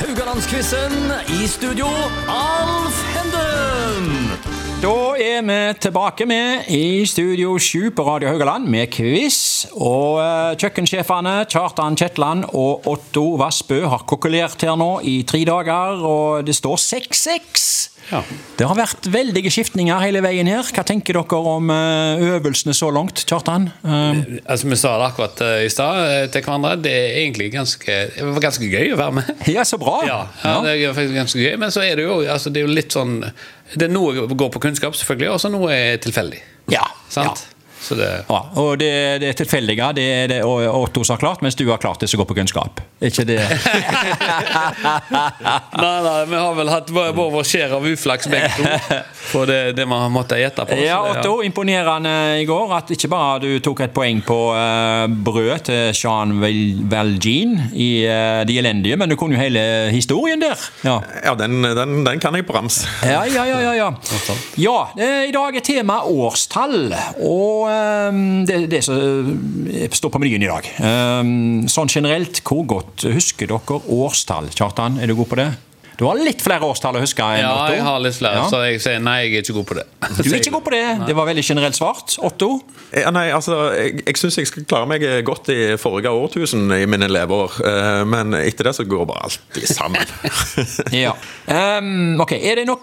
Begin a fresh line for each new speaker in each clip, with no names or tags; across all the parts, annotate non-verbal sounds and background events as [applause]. Rogalandsquizen i studio, Alf Henden!
Da er vi tilbake med i Studio 7 på Radio Haugaland med quiz. Og eh, kjøkkensjefene Kjartan Kjetland og Otto Vassbø har kokkelert her nå i tre dager, og det står 6-6.
Ja.
Det har vært veldige skiftninger hele veien her. Hva tenker dere om eh, øvelsene så langt, Kjartan? Eh,
Altså, vi sa det akkurat eh, i stad eh, til hverandre. Det er egentlig ganske, det var ganske gøy å være med.
ja, så bra.
Ja, ja, det er faktisk ganske gøy, men så er det jo, altså, det er jo litt sånn Det er Noe går på kunnskap, selvfølgelig, og så noe er tilfeldig.
Ja,
Sant?
ja.
Så det
Ja, og det, det er tilfeldige, det er det og- og Otto som har klart, mens du har klart det som går på kunnskap. Er ikke det
Nei, nei, vi har vel hatt vår vår skjær av uflaks begge [laughs] to. På det, det vi har måttet gjette på. så det-
Ja, Otto, imponerende i går at ikke bare du tok et poeng på eh, brød til Sean Val- Valjean i eh, De elendige, men du kunne jo hele historien der. Ja.
Ja, den, den, den kan jeg på rams.
Ja, ja, ja, ja, ja. ja eh, I dag er tema årstall, og eh, det er det som eh, står på menyen i dag. Eh, Sånn generelt, hvor godt husker dere årstall? Kjartan, er du god på det? Du har litt flere årstall å huske enn
Ja,
Otto.
jeg har litt flere,
Ja.
så jeg sier nei, jeg er ikke god på det.
Du
[laughs]
er ikke god på det. Det var veldig generelt svart. Otto?
Ja, nei, altså, jeg, jeg syns jeg skal klare meg godt i forrige årtusen i mine leveår, eh, men etter det så går bare alltid
[laughs]
sammen.
Ja. Ehm, ok, Er det noe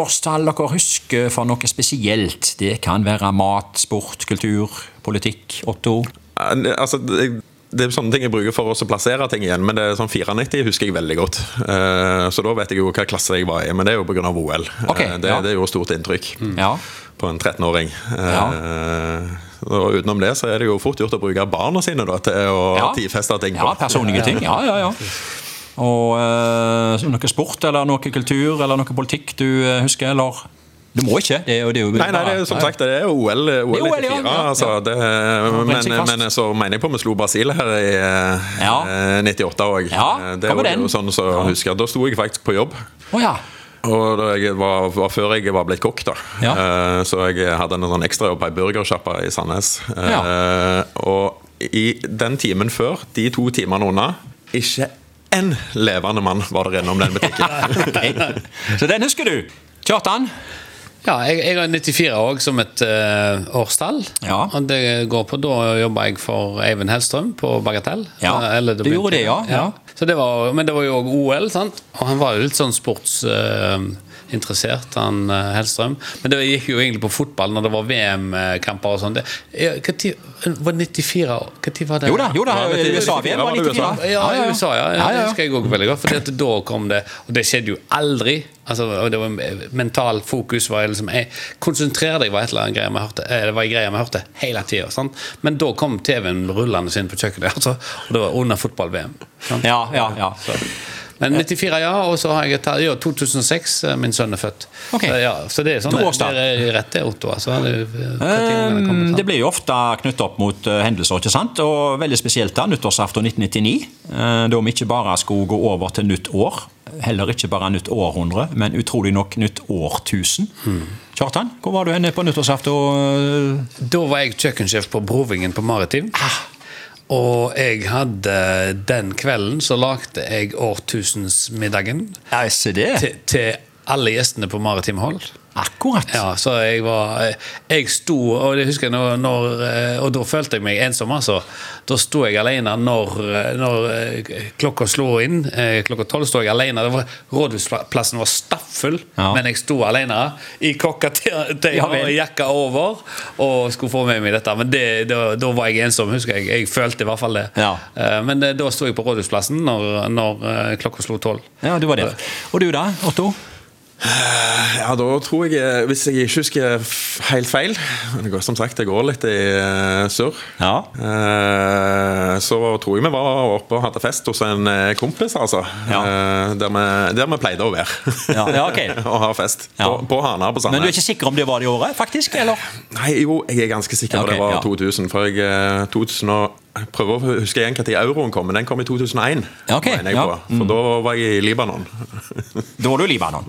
årstall dere husker for noe spesielt? Det kan være mat, sport, kultur, politikk. Otto?
Ja, det- altså, det, det er sånne ting jeg bruker for å så plassere ting igjen, men det er sånn 94 husker jeg veldig godt. Eh, Så da vet jeg jo hva klasse jeg var i, men det er jo pga. OL.
Ok,
Eh, det,
ja. Mm.
det gjorde stort inntrykk
Ja.
på en 13-åring. Eh, Og utenom det så er det jo fort gjort å bruke barna sine da, til å
Ja.
tidfeste ting på.
ja personlige ting. Ja, ja, ja. Og eh, noe sport eller noe kultur eller noe politikk du eh, husker, eller? Du må ikke. Det er jo, det er jo
Nei, nei, det er, som sagt, det er jo OL, OL
OL,
94.
ja, ja,
altså,
ja.
det,
Rent seg fast.
men, men så mener jeg på vi slo Brasil her i eh,
Ja.
eh, 98 òg.
Ja,
det er
kommer
jo- det er
den.
jo sånn som jeg husker. Da sto jeg faktisk på jobb.
Å ja.
Og da jeg var, var før jeg var blitt kokk, da.
Ja.
Eh, Så jeg hadde en sånn ekstrajobb på ei burgersjappa i Sandnes. Eh, Og i den timen før, de to timene unna, ikke én levende mann var der innom den butikken.
[laughs] Ok. Så den husker du. Kjartan?
Ja, jeg, jeg har 94 òg som et eh, årstall.
Ja.
Og det går på Da jobba jeg for Eivind Hellstrøm på Bagatell.
Ja,
Eh,
du
begynte-
gjorde det, ja, ja.
Så det var, men det var jo òg OL, sant? og han var jo litt sånn sportsinteressert, han eh, Hellstrøm. Men det gikk jo egentlig på fotball når det var VM-kamper og sånn. Det- ja, hva tid- Var 94 år? Hva tid var det?
Jo da, jo da.
Ja, det er
USA-VM var
94, var
94.
det
Ja, i USA, ja.
Ja, ja,
Det
ja.
husker jeg også veldig godt. For det at da kom det Og det skjedde jo aldri. Altså, og det var Mental fokus var liksom jeg, Konsentrer deg, var et eller annet greie vi hørte, eh, det var en greie vi hørte hele tida. Men da kom TV-en rullende inn på kjøkkenet, altså, og det var under fotball-VM. sant?
Ja, ja, ja.
Så. Men 94, ja. Og så har jeg et tall- ja, 2006. eh, Min sønn er født.
Ok.
Så, ja, så det er sånn
To årstall.
Det er rett det, Otto. Altså, det,
Um, det blir jo ofte knyttet opp mot eh, hendelser, ikke sant? Og veldig spesielt da, nyttårsaften 1999, eh, da vi ikke bare skulle gå over til nytt år, heller ikke bare nytt århundre, men utrolig nok nytt årtusen. Kjartan, hvor var du henne på nyttårsaften? eh,
Da var jeg kjøkkensjef på Brovingen på Maritim.
Ah,
Og jeg hadde den kvelden så lagde jeg årtusenmiddagen
Ja, jeg ser det.
til, til alle gjestene på Maritim Hold.
Akkurat.
Ja, så jeg var Jeg sto, og det husker jeg når, når eh, Og da følte jeg meg ensom, altså. Da sto jeg alene når, når eh, klokka slo inn. eh, Klokka tolv sto jeg alene. Det var, rådhusplassen var stappfull,
Ja.
men jeg sto alene i kokketøy
Ja,
og
vel.
jakka over og skulle få med meg dette. Men det, da, da var jeg ensom, husker jeg. Jeg følte i hvert fall det.
Ja.
Eh, Men eh, da sto jeg på Rådhusplassen når, når eh, klokka slo tolv.
Ja, du var der. Og du da, Otto?
Ja, da tror jeg, eh, hvis jeg ikke husker f- helt feil men det går, Som sagt, det går litt i eh, surr.
Ja.
Eh, Så tror jeg vi var oppe og hadde fest hos en eh, kompis, altså.
Ja.
Eh, Der, vi, der vi pleide å være.
Ja, ja, ok.
[laughs] og ha fest.
Ja.
På, på Hana på
Men du er
Sandnes.
ikke sikker om det var det i året, faktisk, eller?
Nei, jo, jeg er ganske sikker
Ja,
på
ok,
det var
ja.
2000. For jeg, eh, 2000 og, jeg prøver å huske igjen når euroen kom, men den kom i 2001.
Ja, ok,
mener jeg
ja. Mm.
på, for da var jeg i Libanon.
Da var du i Libanon.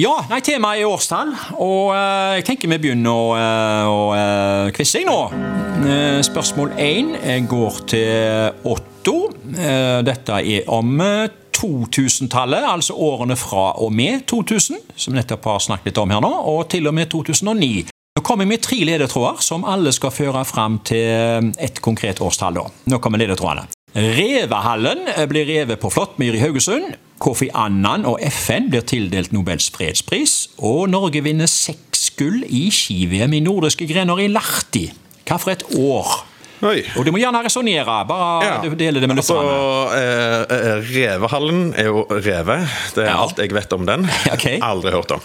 Ja, nei, temaet er årstall, og eh, jeg tenker vi begynner å, eh, å eh, quize jeg nå. Eh, spørsmål én eh, går til Otto. Eh, dette er om eh, 2000-tallet, altså årene fra og med 2000, som nettopp har snakket litt om her nå, og til og med 2009. Nå kommer vi med tre ledetråder som alle skal føre fram til eh, et konkret årstall. da. Nå kommer ledetrådene. Revehallen eh, blir revet på Flåttmyr i Haugesund. Kofi Annan og FN blir tildelt Nobels fredspris. Og Norge vinner seks gull i ski-VM i nordiske grener i Lahti. Hva for et år?
Oi.
Og du må gjerne resonnere. Bare
Ja.
dele det med
Altså,
lytterne.
eh, eh, Revehallen er jo reve. Det er
Ja.
alt jeg vet om den.
[laughs] Ok.
Aldri hørt om.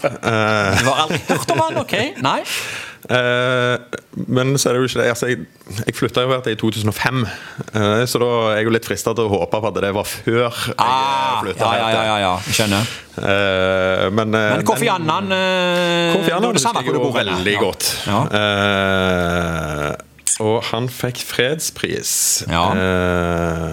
[laughs]
Eh,
Du har aldri hørt om han, ok? Nei?
Eh, men så er det jo ikke det. Altså, jeg jeg flytta jo her til i 2005, eh, så da er jeg jo litt frista til å håpe på at det var før jeg
Ah, ja, ja,
flytta
ja, ja, ja, jeg skjønner.
Eh, men, eh,
Men Kofi Annan eh,
Kofi
det
Annan
er det samme
husker jeg
hvor du
jo
bor, eller?
veldig
Ja.
godt.
Ja.
Eh, og han fikk fredspris.
Ja.
Eh,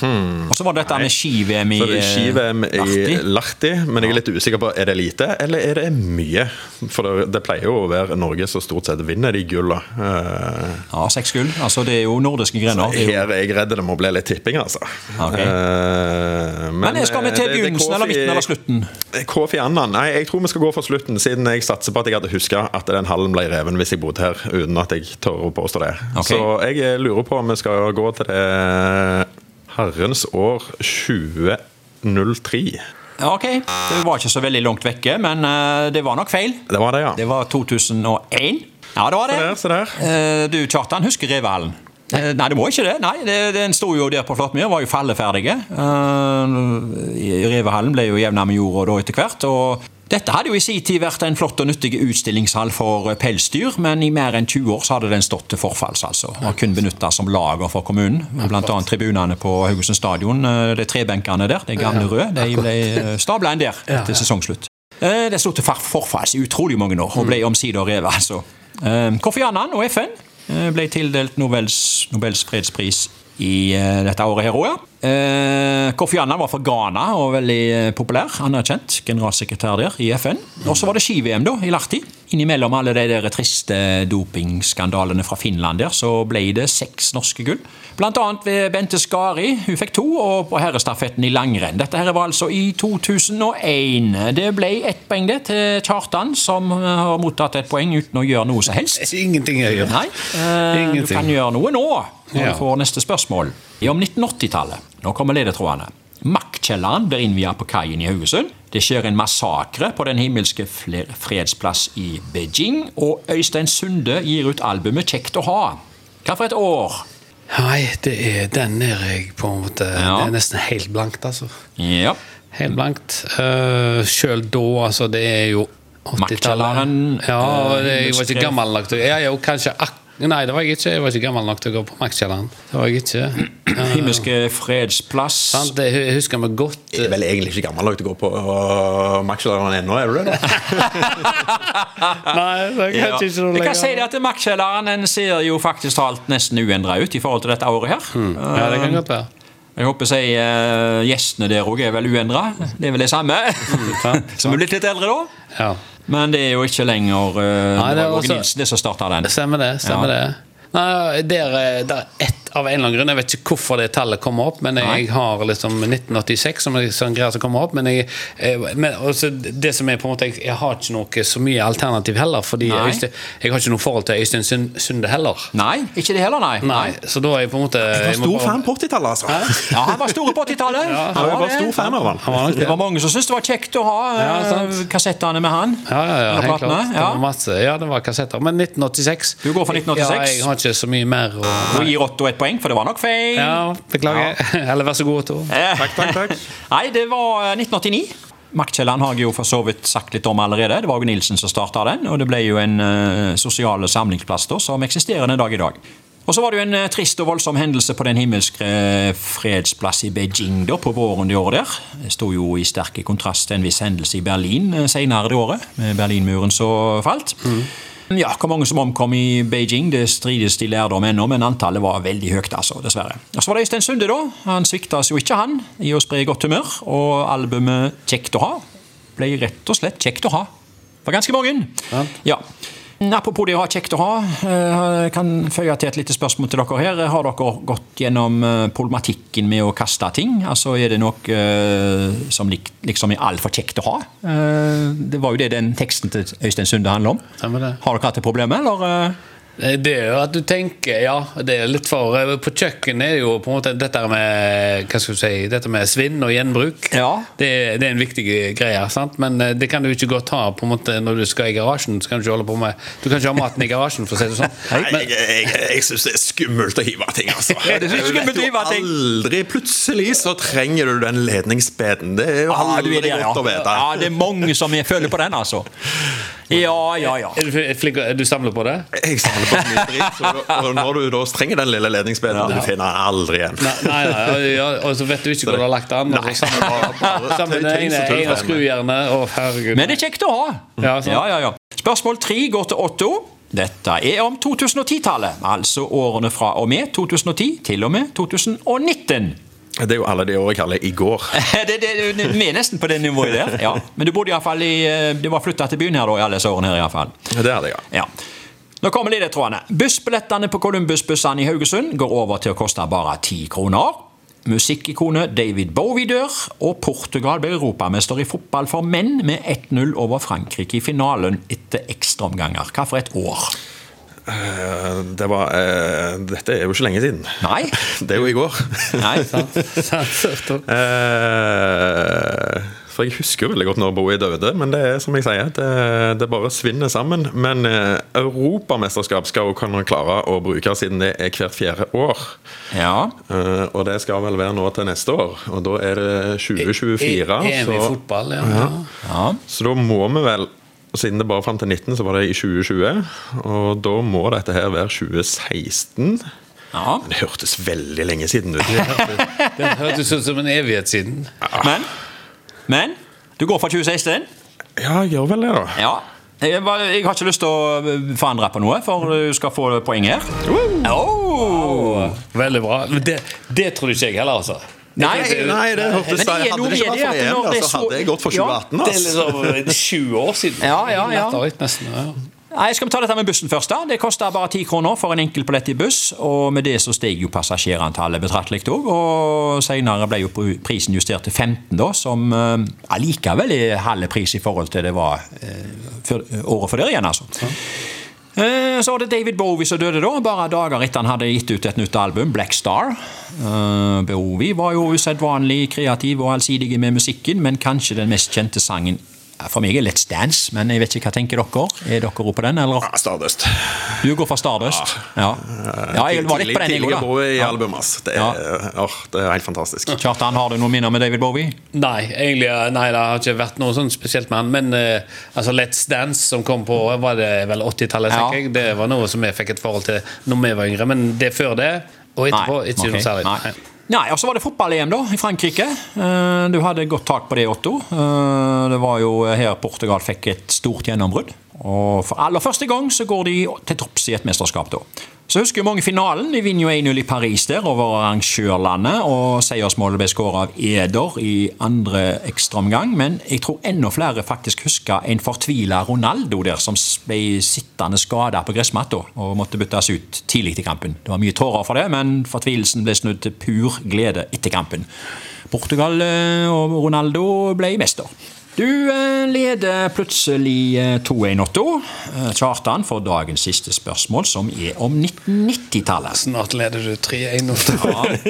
hmm.
Og så var det dette med ski-VM i
så er det ski-VM
eh,
i
Lahti.
Lahti, men jeg er litt usikker på er det lite eller er det mye. For det, det pleier jo å være Norge som stort sett vinner de gulla. Eh,
Ja, seks gull. Altså, det er jo nordiske grener. Det er jo-
Her er jeg redd det må bli litt tipping, altså.
Ok.
Eh,
Men jeg skal vi til
eh, det- det er
begynnelsen eller
Kofi- Eh,
midten eller slutten?
Kofi Annan. Nei, jeg tror vi skal gå for slutten, siden jeg satser på at jeg hadde huska at den hallen ble reven hvis jeg bodde her, uten at jeg tør å påstå det.
Ok.
Så jeg eh, lurer på om vi skal gå til det herrens år 2003.
Ja, ok. Det var ikke så veldig langt vekke, men eh, det var nok feil.
Det var det, ja.
Det var 2001. Ja, det var det.
Se der, se
Eh, Du, Kjartan, husker Revehallen? Eh, Nei, du må ikke det. Nei, det, Den sto jo der på Flåttmyr, var jo falleferdige. Eh, Revehallen ble jo jevna med jorda da etter hvert. og dette hadde jo i sin tid vært en flott og nyttig utstillingshall for eh, pelsdyr, men i mer enn 20 år så hadde den stått til forfalls. altså, og kun benytta som lager for kommunen. Blant annet tribunene på Haugesund stadion, eh, de trebenkene der, de gamle røde, de ble stabla inn der
Ja, ja.
etter sesongslutt. Eh, Det sto til far- forfalls i utrolig mange år, og ble omsider revet. altså. Eh, Kofi Annan og FN eh, ble tildelt Nobels, Nobels fredspris i eh, dette året her òg, ja. Eh, Kofi Annan var fra Ghana og veldig eh, populær. Anerkjent generalsekretær der i FN. Og så var det ski-VM da, i Lahti. Innimellom alle de der triste dopingskandalene fra Finland der, så ble det seks norske gull. Blant annet ved Bente Skari, hun fikk to, og på herrestafetten i langrenn. Dette her var altså i 2001. Det ble ett poeng det til Kjartan, som eh, har mottatt et poeng uten å gjøre noe som helst.
Det er ingenting jeg gjør.
Nei, eh, du
Ingenting.
kan gjøre noe nå når
Ja.
du får neste spørsmål. I om 1980-tallet. Nå kommer ledetrådene. Maktkjelleren blir innvia på kaien i Haugesund. Det skjer en massakre på Den himmelske fler- fredsplass i Beijing. Og Øystein Sunde gir ut albumet 'Kjekt å ha'. Hva for et år?
Nei, det er den er jeg på en måte
Ja.
Det er nesten helt blankt, altså.
Ja.
Helt blankt. Uh, Sjøl da, altså, det er jo 80-tallet.
Maktkjelleren,
Ja, og det, jeg var
eh,
ikke gammel nok til ja, jo, kanskje ak Nei, det var jeg ikke. Jeg var ikke gammel nok til å gå på Maktkjelleren. Det var jeg ikke. Eh,
Himmelske fredsplass
sant, det hu- husker vi godt.
der. Jeg er vel egentlig ikke gammel nok til å gå på uh, Maxwell ennå, er du det?
Nei, det er
Ja.
kanskje ikke noe
Jeg kan si
lenger.
det at Maktkjelleren den ser jo faktisk talt nesten uendra ut i forhold til dette året her. Eh,
Ja, det kan godt være.
Jeg håper jeg, eh, gjestene der òg er vel uendra. Det er vel det samme.
sant,
[laughs] Som er blitt litt eldre, da.
Ja.
Men det er jo ikke lenger eh,
Nei,
det
det er altså-
var Åge
også-
Nilsen det som starta den.
Stemmer det. stemmer
Ja.
det Nei, der, er- der er ett av en eller annen grunn. Jeg vet ikke hvorfor det tallet kommer opp, men jeg,
Nei.
har liksom 1986 som en sånn greie som kommer opp. Men, jeg, eh, men også det som er på en måte jeg, jeg har ikke noe så mye alternativ heller, fordi
Nei.
Øystein, jeg har ikke noe forhold til Øystein Sund- Sunde heller.
Nei, ikke det heller, nei.
Nei, så da er jeg på en måte
Jeg
jeg
var
må
stor
bare-
fan på 80-tallet, altså.
Ja, han var stor på
[laughs]
80-tallet. Han
Jeg var
det.
stor fan av han.
Han var nok
Det
det.
var mange som syntes det var kjekt å ha
Ja,
eh,
sant.
kassettene med han.
Ja, ja, ja,
Eller
helt klart.
platene,
Det
ja.
var masse. Ja, det var kassetter. Men 1986
Du går for 1986?
Ja, jeg har ikke så mye mer å
Og gir Otto et poeng, for det var nok feil.
Ja, beklager. [laughs] Eller vær så god, Tor.
Takk, takk, takk.
Eh. [laughs] Nei, det var eh, 1989. Maktkjelleren har jeg jo for så vidt sagt litt om allerede. Det var Åge Nilsen som starta den, og det ble jo en eh, sosial samlingsplass da, som eksisterer den dag i dag. Og så var det jo en eh, trist og voldsom hendelse på Den himmelske eh, fredsplass i Beijing da, på våren det året der. Det sto jo i sterk kontrast til en viss hendelse i Berlin eh, senere det året, med Berlinmuren som falt.
Mm.
Ja, Hvor mange som omkom i Beijing, det strides de lærde om ennå, men antallet var veldig høyt, altså, dessverre. Og Så var det Øystein Sunde, da. Han svikta oss jo ikke, han, i å spre godt humør. Og albumet 'Kjekt å ha' ble rett og slett kjekt å ha for ganske mange. Ja. Apropos det å ha kjekt å ha, eh, jeg kan føye til et lite spørsmål til dere her. Har dere gått gjennom eh, problematikken med å kaste ting? Altså, Er det noe eh, som lik- liksom er altfor kjekt å ha? Eh, Det var jo det den teksten til Øystein Sunde handler om.
Stemmer det.
Har dere hatt det problemet, eller? eh?
Det er jo at du tenker Ja, det er litt for eh, På kjøkkenet er det jo på en måte dette med hva skal du si, dette med svinn og gjenbruk.
Ja.
Det, det er en viktig greie, sant? men eh, det kan du ikke godt ha på en måte når du skal i garasjen. Så kan du, ikke holde på med, du kan ikke ha maten i garasjen, for å si det sånn.
Nei, jeg, jeg, jeg syns det er skummelt å hive ting, altså.
Ja, det synes jeg er skummelt å hive ting.
Aldri Plutselig så trenger du den ledningsbeden. Det er jo
Ah, du
aldri
er der,
godt å vite.
ja. ja, det er mange som jeg føler på den, altså. Ja, ja, ja.
Er du flink, du samler på det?
Jeg samler på så mye dritt, så- og når du da trenger den lille ledningsbeden, du finner den aldri igjen.
Nei, nei, nei ja, og så vet du ikke hvor du har lagt an. og så samler du
Bare
bare- Samler det
tøy-
ene
tøys og
ene
tøys.
skrujernet. Å, herregud.
Men det er kjekt å ha.
Ja, sant.
ja, ja, ja. Spørsmål tre går til Otto. Dette er om 2010-tallet, altså årene fra og med 2010 til og med 2019.
Det er jo alle de årene jeg kaller i går.
[laughs] Det, det, vi er nesten på det nivået der. Ja. Men du bodde iallfall i eh, Du var flytta til byen her da, i alle disse årene her, iallfall.
Det er det, ja.
Ja. Nå kommer ledetrådene. Bussbillettene på Columbus-bussene i Haugesund går over til å koste bare 10 kroner. Musikkikonet David Bowie dør, og Portugal ble europamester i fotball for menn med 1-0 over Frankrike i finalen etter ekstraomganger. Hva for et år?
Eh, Det var eh, Dette er jo ikke lenge siden.
Nei?
Det er jo i går.
Nei?
[laughs] Sant?
Eh, For jeg husker jo veldig godt når Bowie døde, men det er som jeg sier, det, det bare svinner sammen. Men eh, europamesterskap skal jo kunne klare å bruke siden det er hvert fjerde år.
Ja.
Eh, og det skal vel være nå til neste år, og da er det 2024.
EM E- i
så,
fotball, ja. ja.
ja.
så da må vi vel Siden det bare fram til 19, så var det i 2020. Og da må dette her være 2016.
ja.
Men det hørtes veldig lenge siden ut.
Det hørtes ut som en evighet siden.
Men, men du går for 2016?
Ja, jeg gjør vel det, da.
Ja. Jeg, var- jeg har ikke lyst til å eh, forandre på noe, for du skal få poeng her. Oh.
Veldig bra. Men det, det trodde ikke jeg heller, altså.
Nei,
Nei, det hørtes
Men det er
Hadde
noe
det ikke
med
vært
det at når det er
for EM, altså,
så-
hadde jeg gått for
Ja,
2018.
Det er
altså.
liksom 20 år siden.
Ja, ja, ja.
Litt drøyt nesten, ja.
Nei, Skal vi ta dette med bussen først? da? Det koster bare 10 kroner for en enkel billett i buss. Og med det så steg jo passasjerantallet betraktelig òg. Og senere ble jo pr- prisen justert til 15, da, som eh, allikevel er halve pris i forhold til det var eh, før- året før der igjen, altså. Eh, Så var det David Bowie som døde da, bare dager etter han hadde gitt ut et nytt album, Black Star. Eh, Bowie var jo usedvanlig kreativ og allsidig med musikken, men kanskje den mest kjente sangen eh, for meg er Let's Dance, men jeg vet ikke hva tenker dere? Er dere oppe på den, eller?
Ja, Stardust.
Du går for Stardust? Ja. ja jeg var litt på den, jeg
Tidligere
òg,
Bowie i
da. Ja.
albumet hans. Det,
Ja.
er- åh, det er helt fantastisk.
Kjartan, har du noen minner med David Bowie?
Nei, egentlig eh, nei, det har ikke vært noe sånn spesielt med han. Men eh, altså Let's Dance, som kom på var det vel 80-tallet,
Ja.
tenker jeg, det var noe som jeg fikk et forhold til når vi var yngre. Men det før det, og etterpå, ikke
ok,
noe særlig.
Nei. Nei, og så var det fotball-EM da, i Frankrike. Eh, Du hadde godt tak på det, Otto. Eh, Det var jo her Portugal fikk et stort gjennombrudd. Og for aller første gang så går de til topps i et mesterskap da. Så husker jo mange finalen. De vinner jo 1-0 i Paris der over arrangørlandet, og seiersmålet ble skåret av Eder i andre ekstraomgang. Men jeg tror enda flere faktisk husker en fortvila Ronaldo der, som ble sittende skada på gressmatta og måtte byttes ut tidlig i kampen. Det var mye tårer for det, men fortvilelsen ble snudd til pur glede etter kampen. Portugal eh, og Ronaldo ble mester. Du eh, leder plutselig eh, 2-1, Otto. Eh, Kjartan får dagens siste spørsmål, som er om 1990-tallet.
Snart leder du 3-1 nå.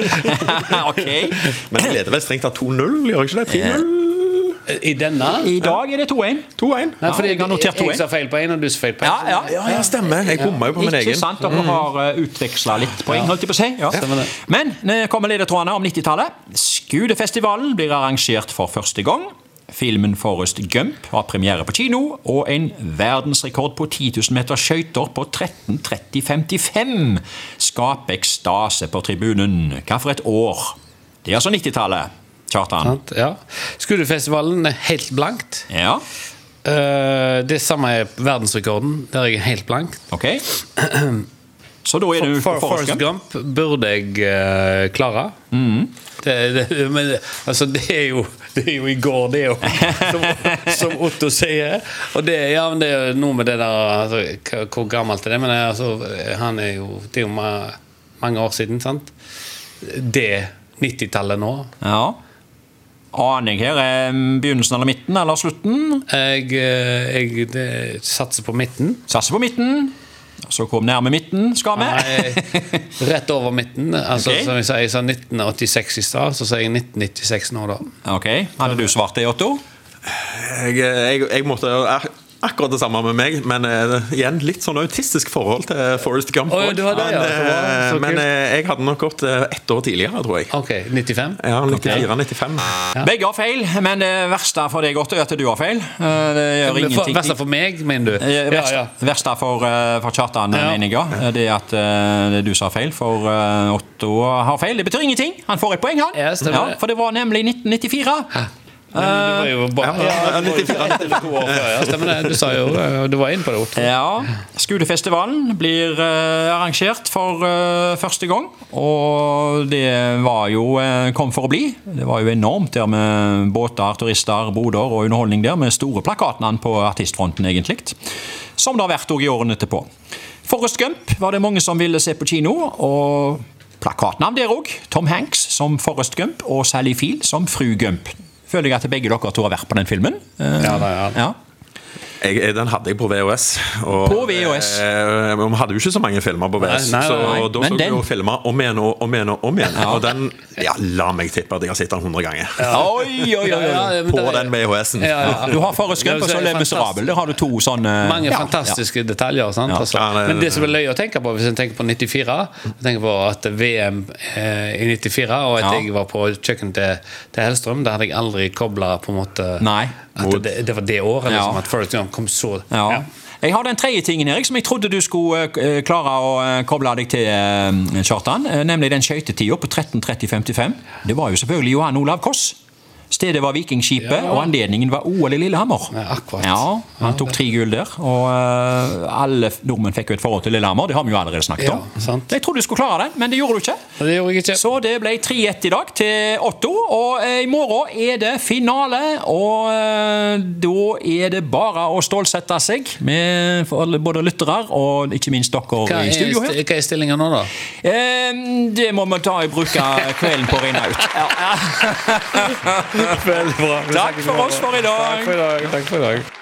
[laughs] ok.
Men jeg leder vel strengt tatt 2-0, gjør jeg ikke det? 10-0?
I denne?
I dag er det 2-1.
2-1.
Nei, fordi
jeg har notert to,
jeg,
jeg.
sa feil på én, og du sa feil på én.
Ja, ja.
Ja, ja, stemmer. Jeg bomma jo på min
Ikke
egen.
sant, dere har uh, utveksla litt poeng, holdt jeg på å si. Ja.
Stemmer det.
Men nå kommer ledetrådene om 90-tallet. Skudefestivalen blir arrangert for første gang. Filmen 'Forrest Gump' har premiere på kino, og en verdensrekord på 10 000 meter skøyter på 13.30,55 skaper ekstase på tribunen. Hva for et år? Det er altså 90-tallet, Kjartan.
Sant? Ja. Skuddefestivalen er helt blankt.
Ja,
Eh, det samme er verdensrekorden, der jeg er helt blank.
ok. Så da er du
For,
på
Forrest
Forrest Gump. Mm.
Gump burde jeg eh, klare. det, det, men altså, det er, jo, det er jo i går, det òg, som, som Otto sier. Og det, ja, men det er noe med det der altså, hva- Hvor gammelt er det? Men altså, han er jo, det er jo ma- mange år siden, sant? Det 90-tallet nå.
Ja. Aner jeg her eh, begynnelsen eller midten eller slutten?
Jeg, eh, jeg det, satser på midten.
Satser på midten. Så kom nærme midten, skal vi.
Nei, rett over midten. Altså,
Ok.
Som jeg sa, jeg sa 1986 i stad, så sier jeg 1996 nå, da.
[laughs] Ok, Hadde du svart det, Otto?
Jeg, jeg, jeg måtte er- akkurat det samme med meg, men eh, igjen litt sånn autistisk forhold til Forest Gump.
Å, ja, du har det,
men
ja. Så bra.
eh,
Så
men
kult.
eh, jeg hadde nok gått eh, ett år tidligere, tror jeg.
Ok, 95?
Ja, 94-95.
Begge har feil, men det verste for deg, Otto, er at du har feil. Eh, Det gjør
For,
ingenting.
verste for meg, mener du?
Eh,
Ja,
Verst,
ja.
verste for, eh, for Kjartan,
Ja.
mener jeg. ja. Det er at eh, det du sa feil, for eh, Otto har feil. Det betyr ingenting. Han får et poeng, han.
Ja, stemmer det.
for det var nemlig 1994.
Nei, men Du var jo bare
Ja, ja,
Ja, du var jo
94,
bare to år før, ja, stemmer det. Du sa jo eh, Du var inne på det, Otto.
Ja. Skolefestivalen blir eh, arrangert for eh, første gang. Og det var jo eh, kom for å bli. Det var jo enormt der med båter, turister, boder og underholdning der, med store plakatnavn på artistfronten, egentlig. Som det har vært òg i årene etterpå. Forrest Gump var det mange som ville se på kino. og plakatnavn der òg. Tom Hanks som Forrest Gump og Sally Field som Fru Gump. Føler jeg at begge dere to har vært på den filmen. Eh,
Ja, da, ja.
ja.
Jeg, jeg- den hadde jeg på VHS. Og,
På VHS.
Eh, vi hadde jo ikke så mange filmer på VHS,
Nei, nei, nei,
så
nei.
da
Men
så
den-
vi jo filmer om igjen og om igjen. Og om igjen Og den ja, La meg tippe at jeg har sett den 100 ganger.
Oi, oi, oi, oi.
men
På
det er-
den VHS-en.
Ja, ja.
Du har Forrest Gump og så Le Miserable. Der har du to sånne
Mange
Ja,
fantastiske detaljer. Sant? Altså.
Ja, det-
Men det som er løye å tenke på, hvis en tenker på 94 Jeg tenker på at VM eh, i 94, og at
Ja.
jeg var på kjøkkenet til, til Hellstrøm, det hadde jeg aldri kobla på en måte
Nei.
At det, det var det året,
Ja.
liksom. At Forrest Gump kom så
Ja. Ja. Jeg har den tredje tingen Erik, som jeg trodde du skulle eh, klare å eh, koble deg til, eh, Kjartan. eh, Nemlig den skøytetida på 13.30,55. Det var jo selvfølgelig Johan Olav Koss. Stedet var Vikingskipet,
Ja.
og anledningen var OL i Lillehammer.
Ja, akkurat.
Ja, Han tok tre gull der, og eh, alle f- nordmenn fikk jo et forhold til Lillehammer. Det har vi jo allerede snakket
Ja,
om.
sant.
Jeg trodde du skulle klare den, men det gjorde du ikke.
Og Det gjorde jeg ikke.
Så det ble 3-1 i dag til Otto, og eh, i morgen er det finale. Og eh, da er det bare å stålsette seg med for alle- både lyttere og ikke minst dere
hva,
i
er,
studio her.
st- hva er stillinga nå, da?
Eh, det må vi ta i bruk av kvelden på å regne
[laughs]
ut.
Veldig bra.
Takk for oss for i dag.
Takk for i dag. Takk for i dag.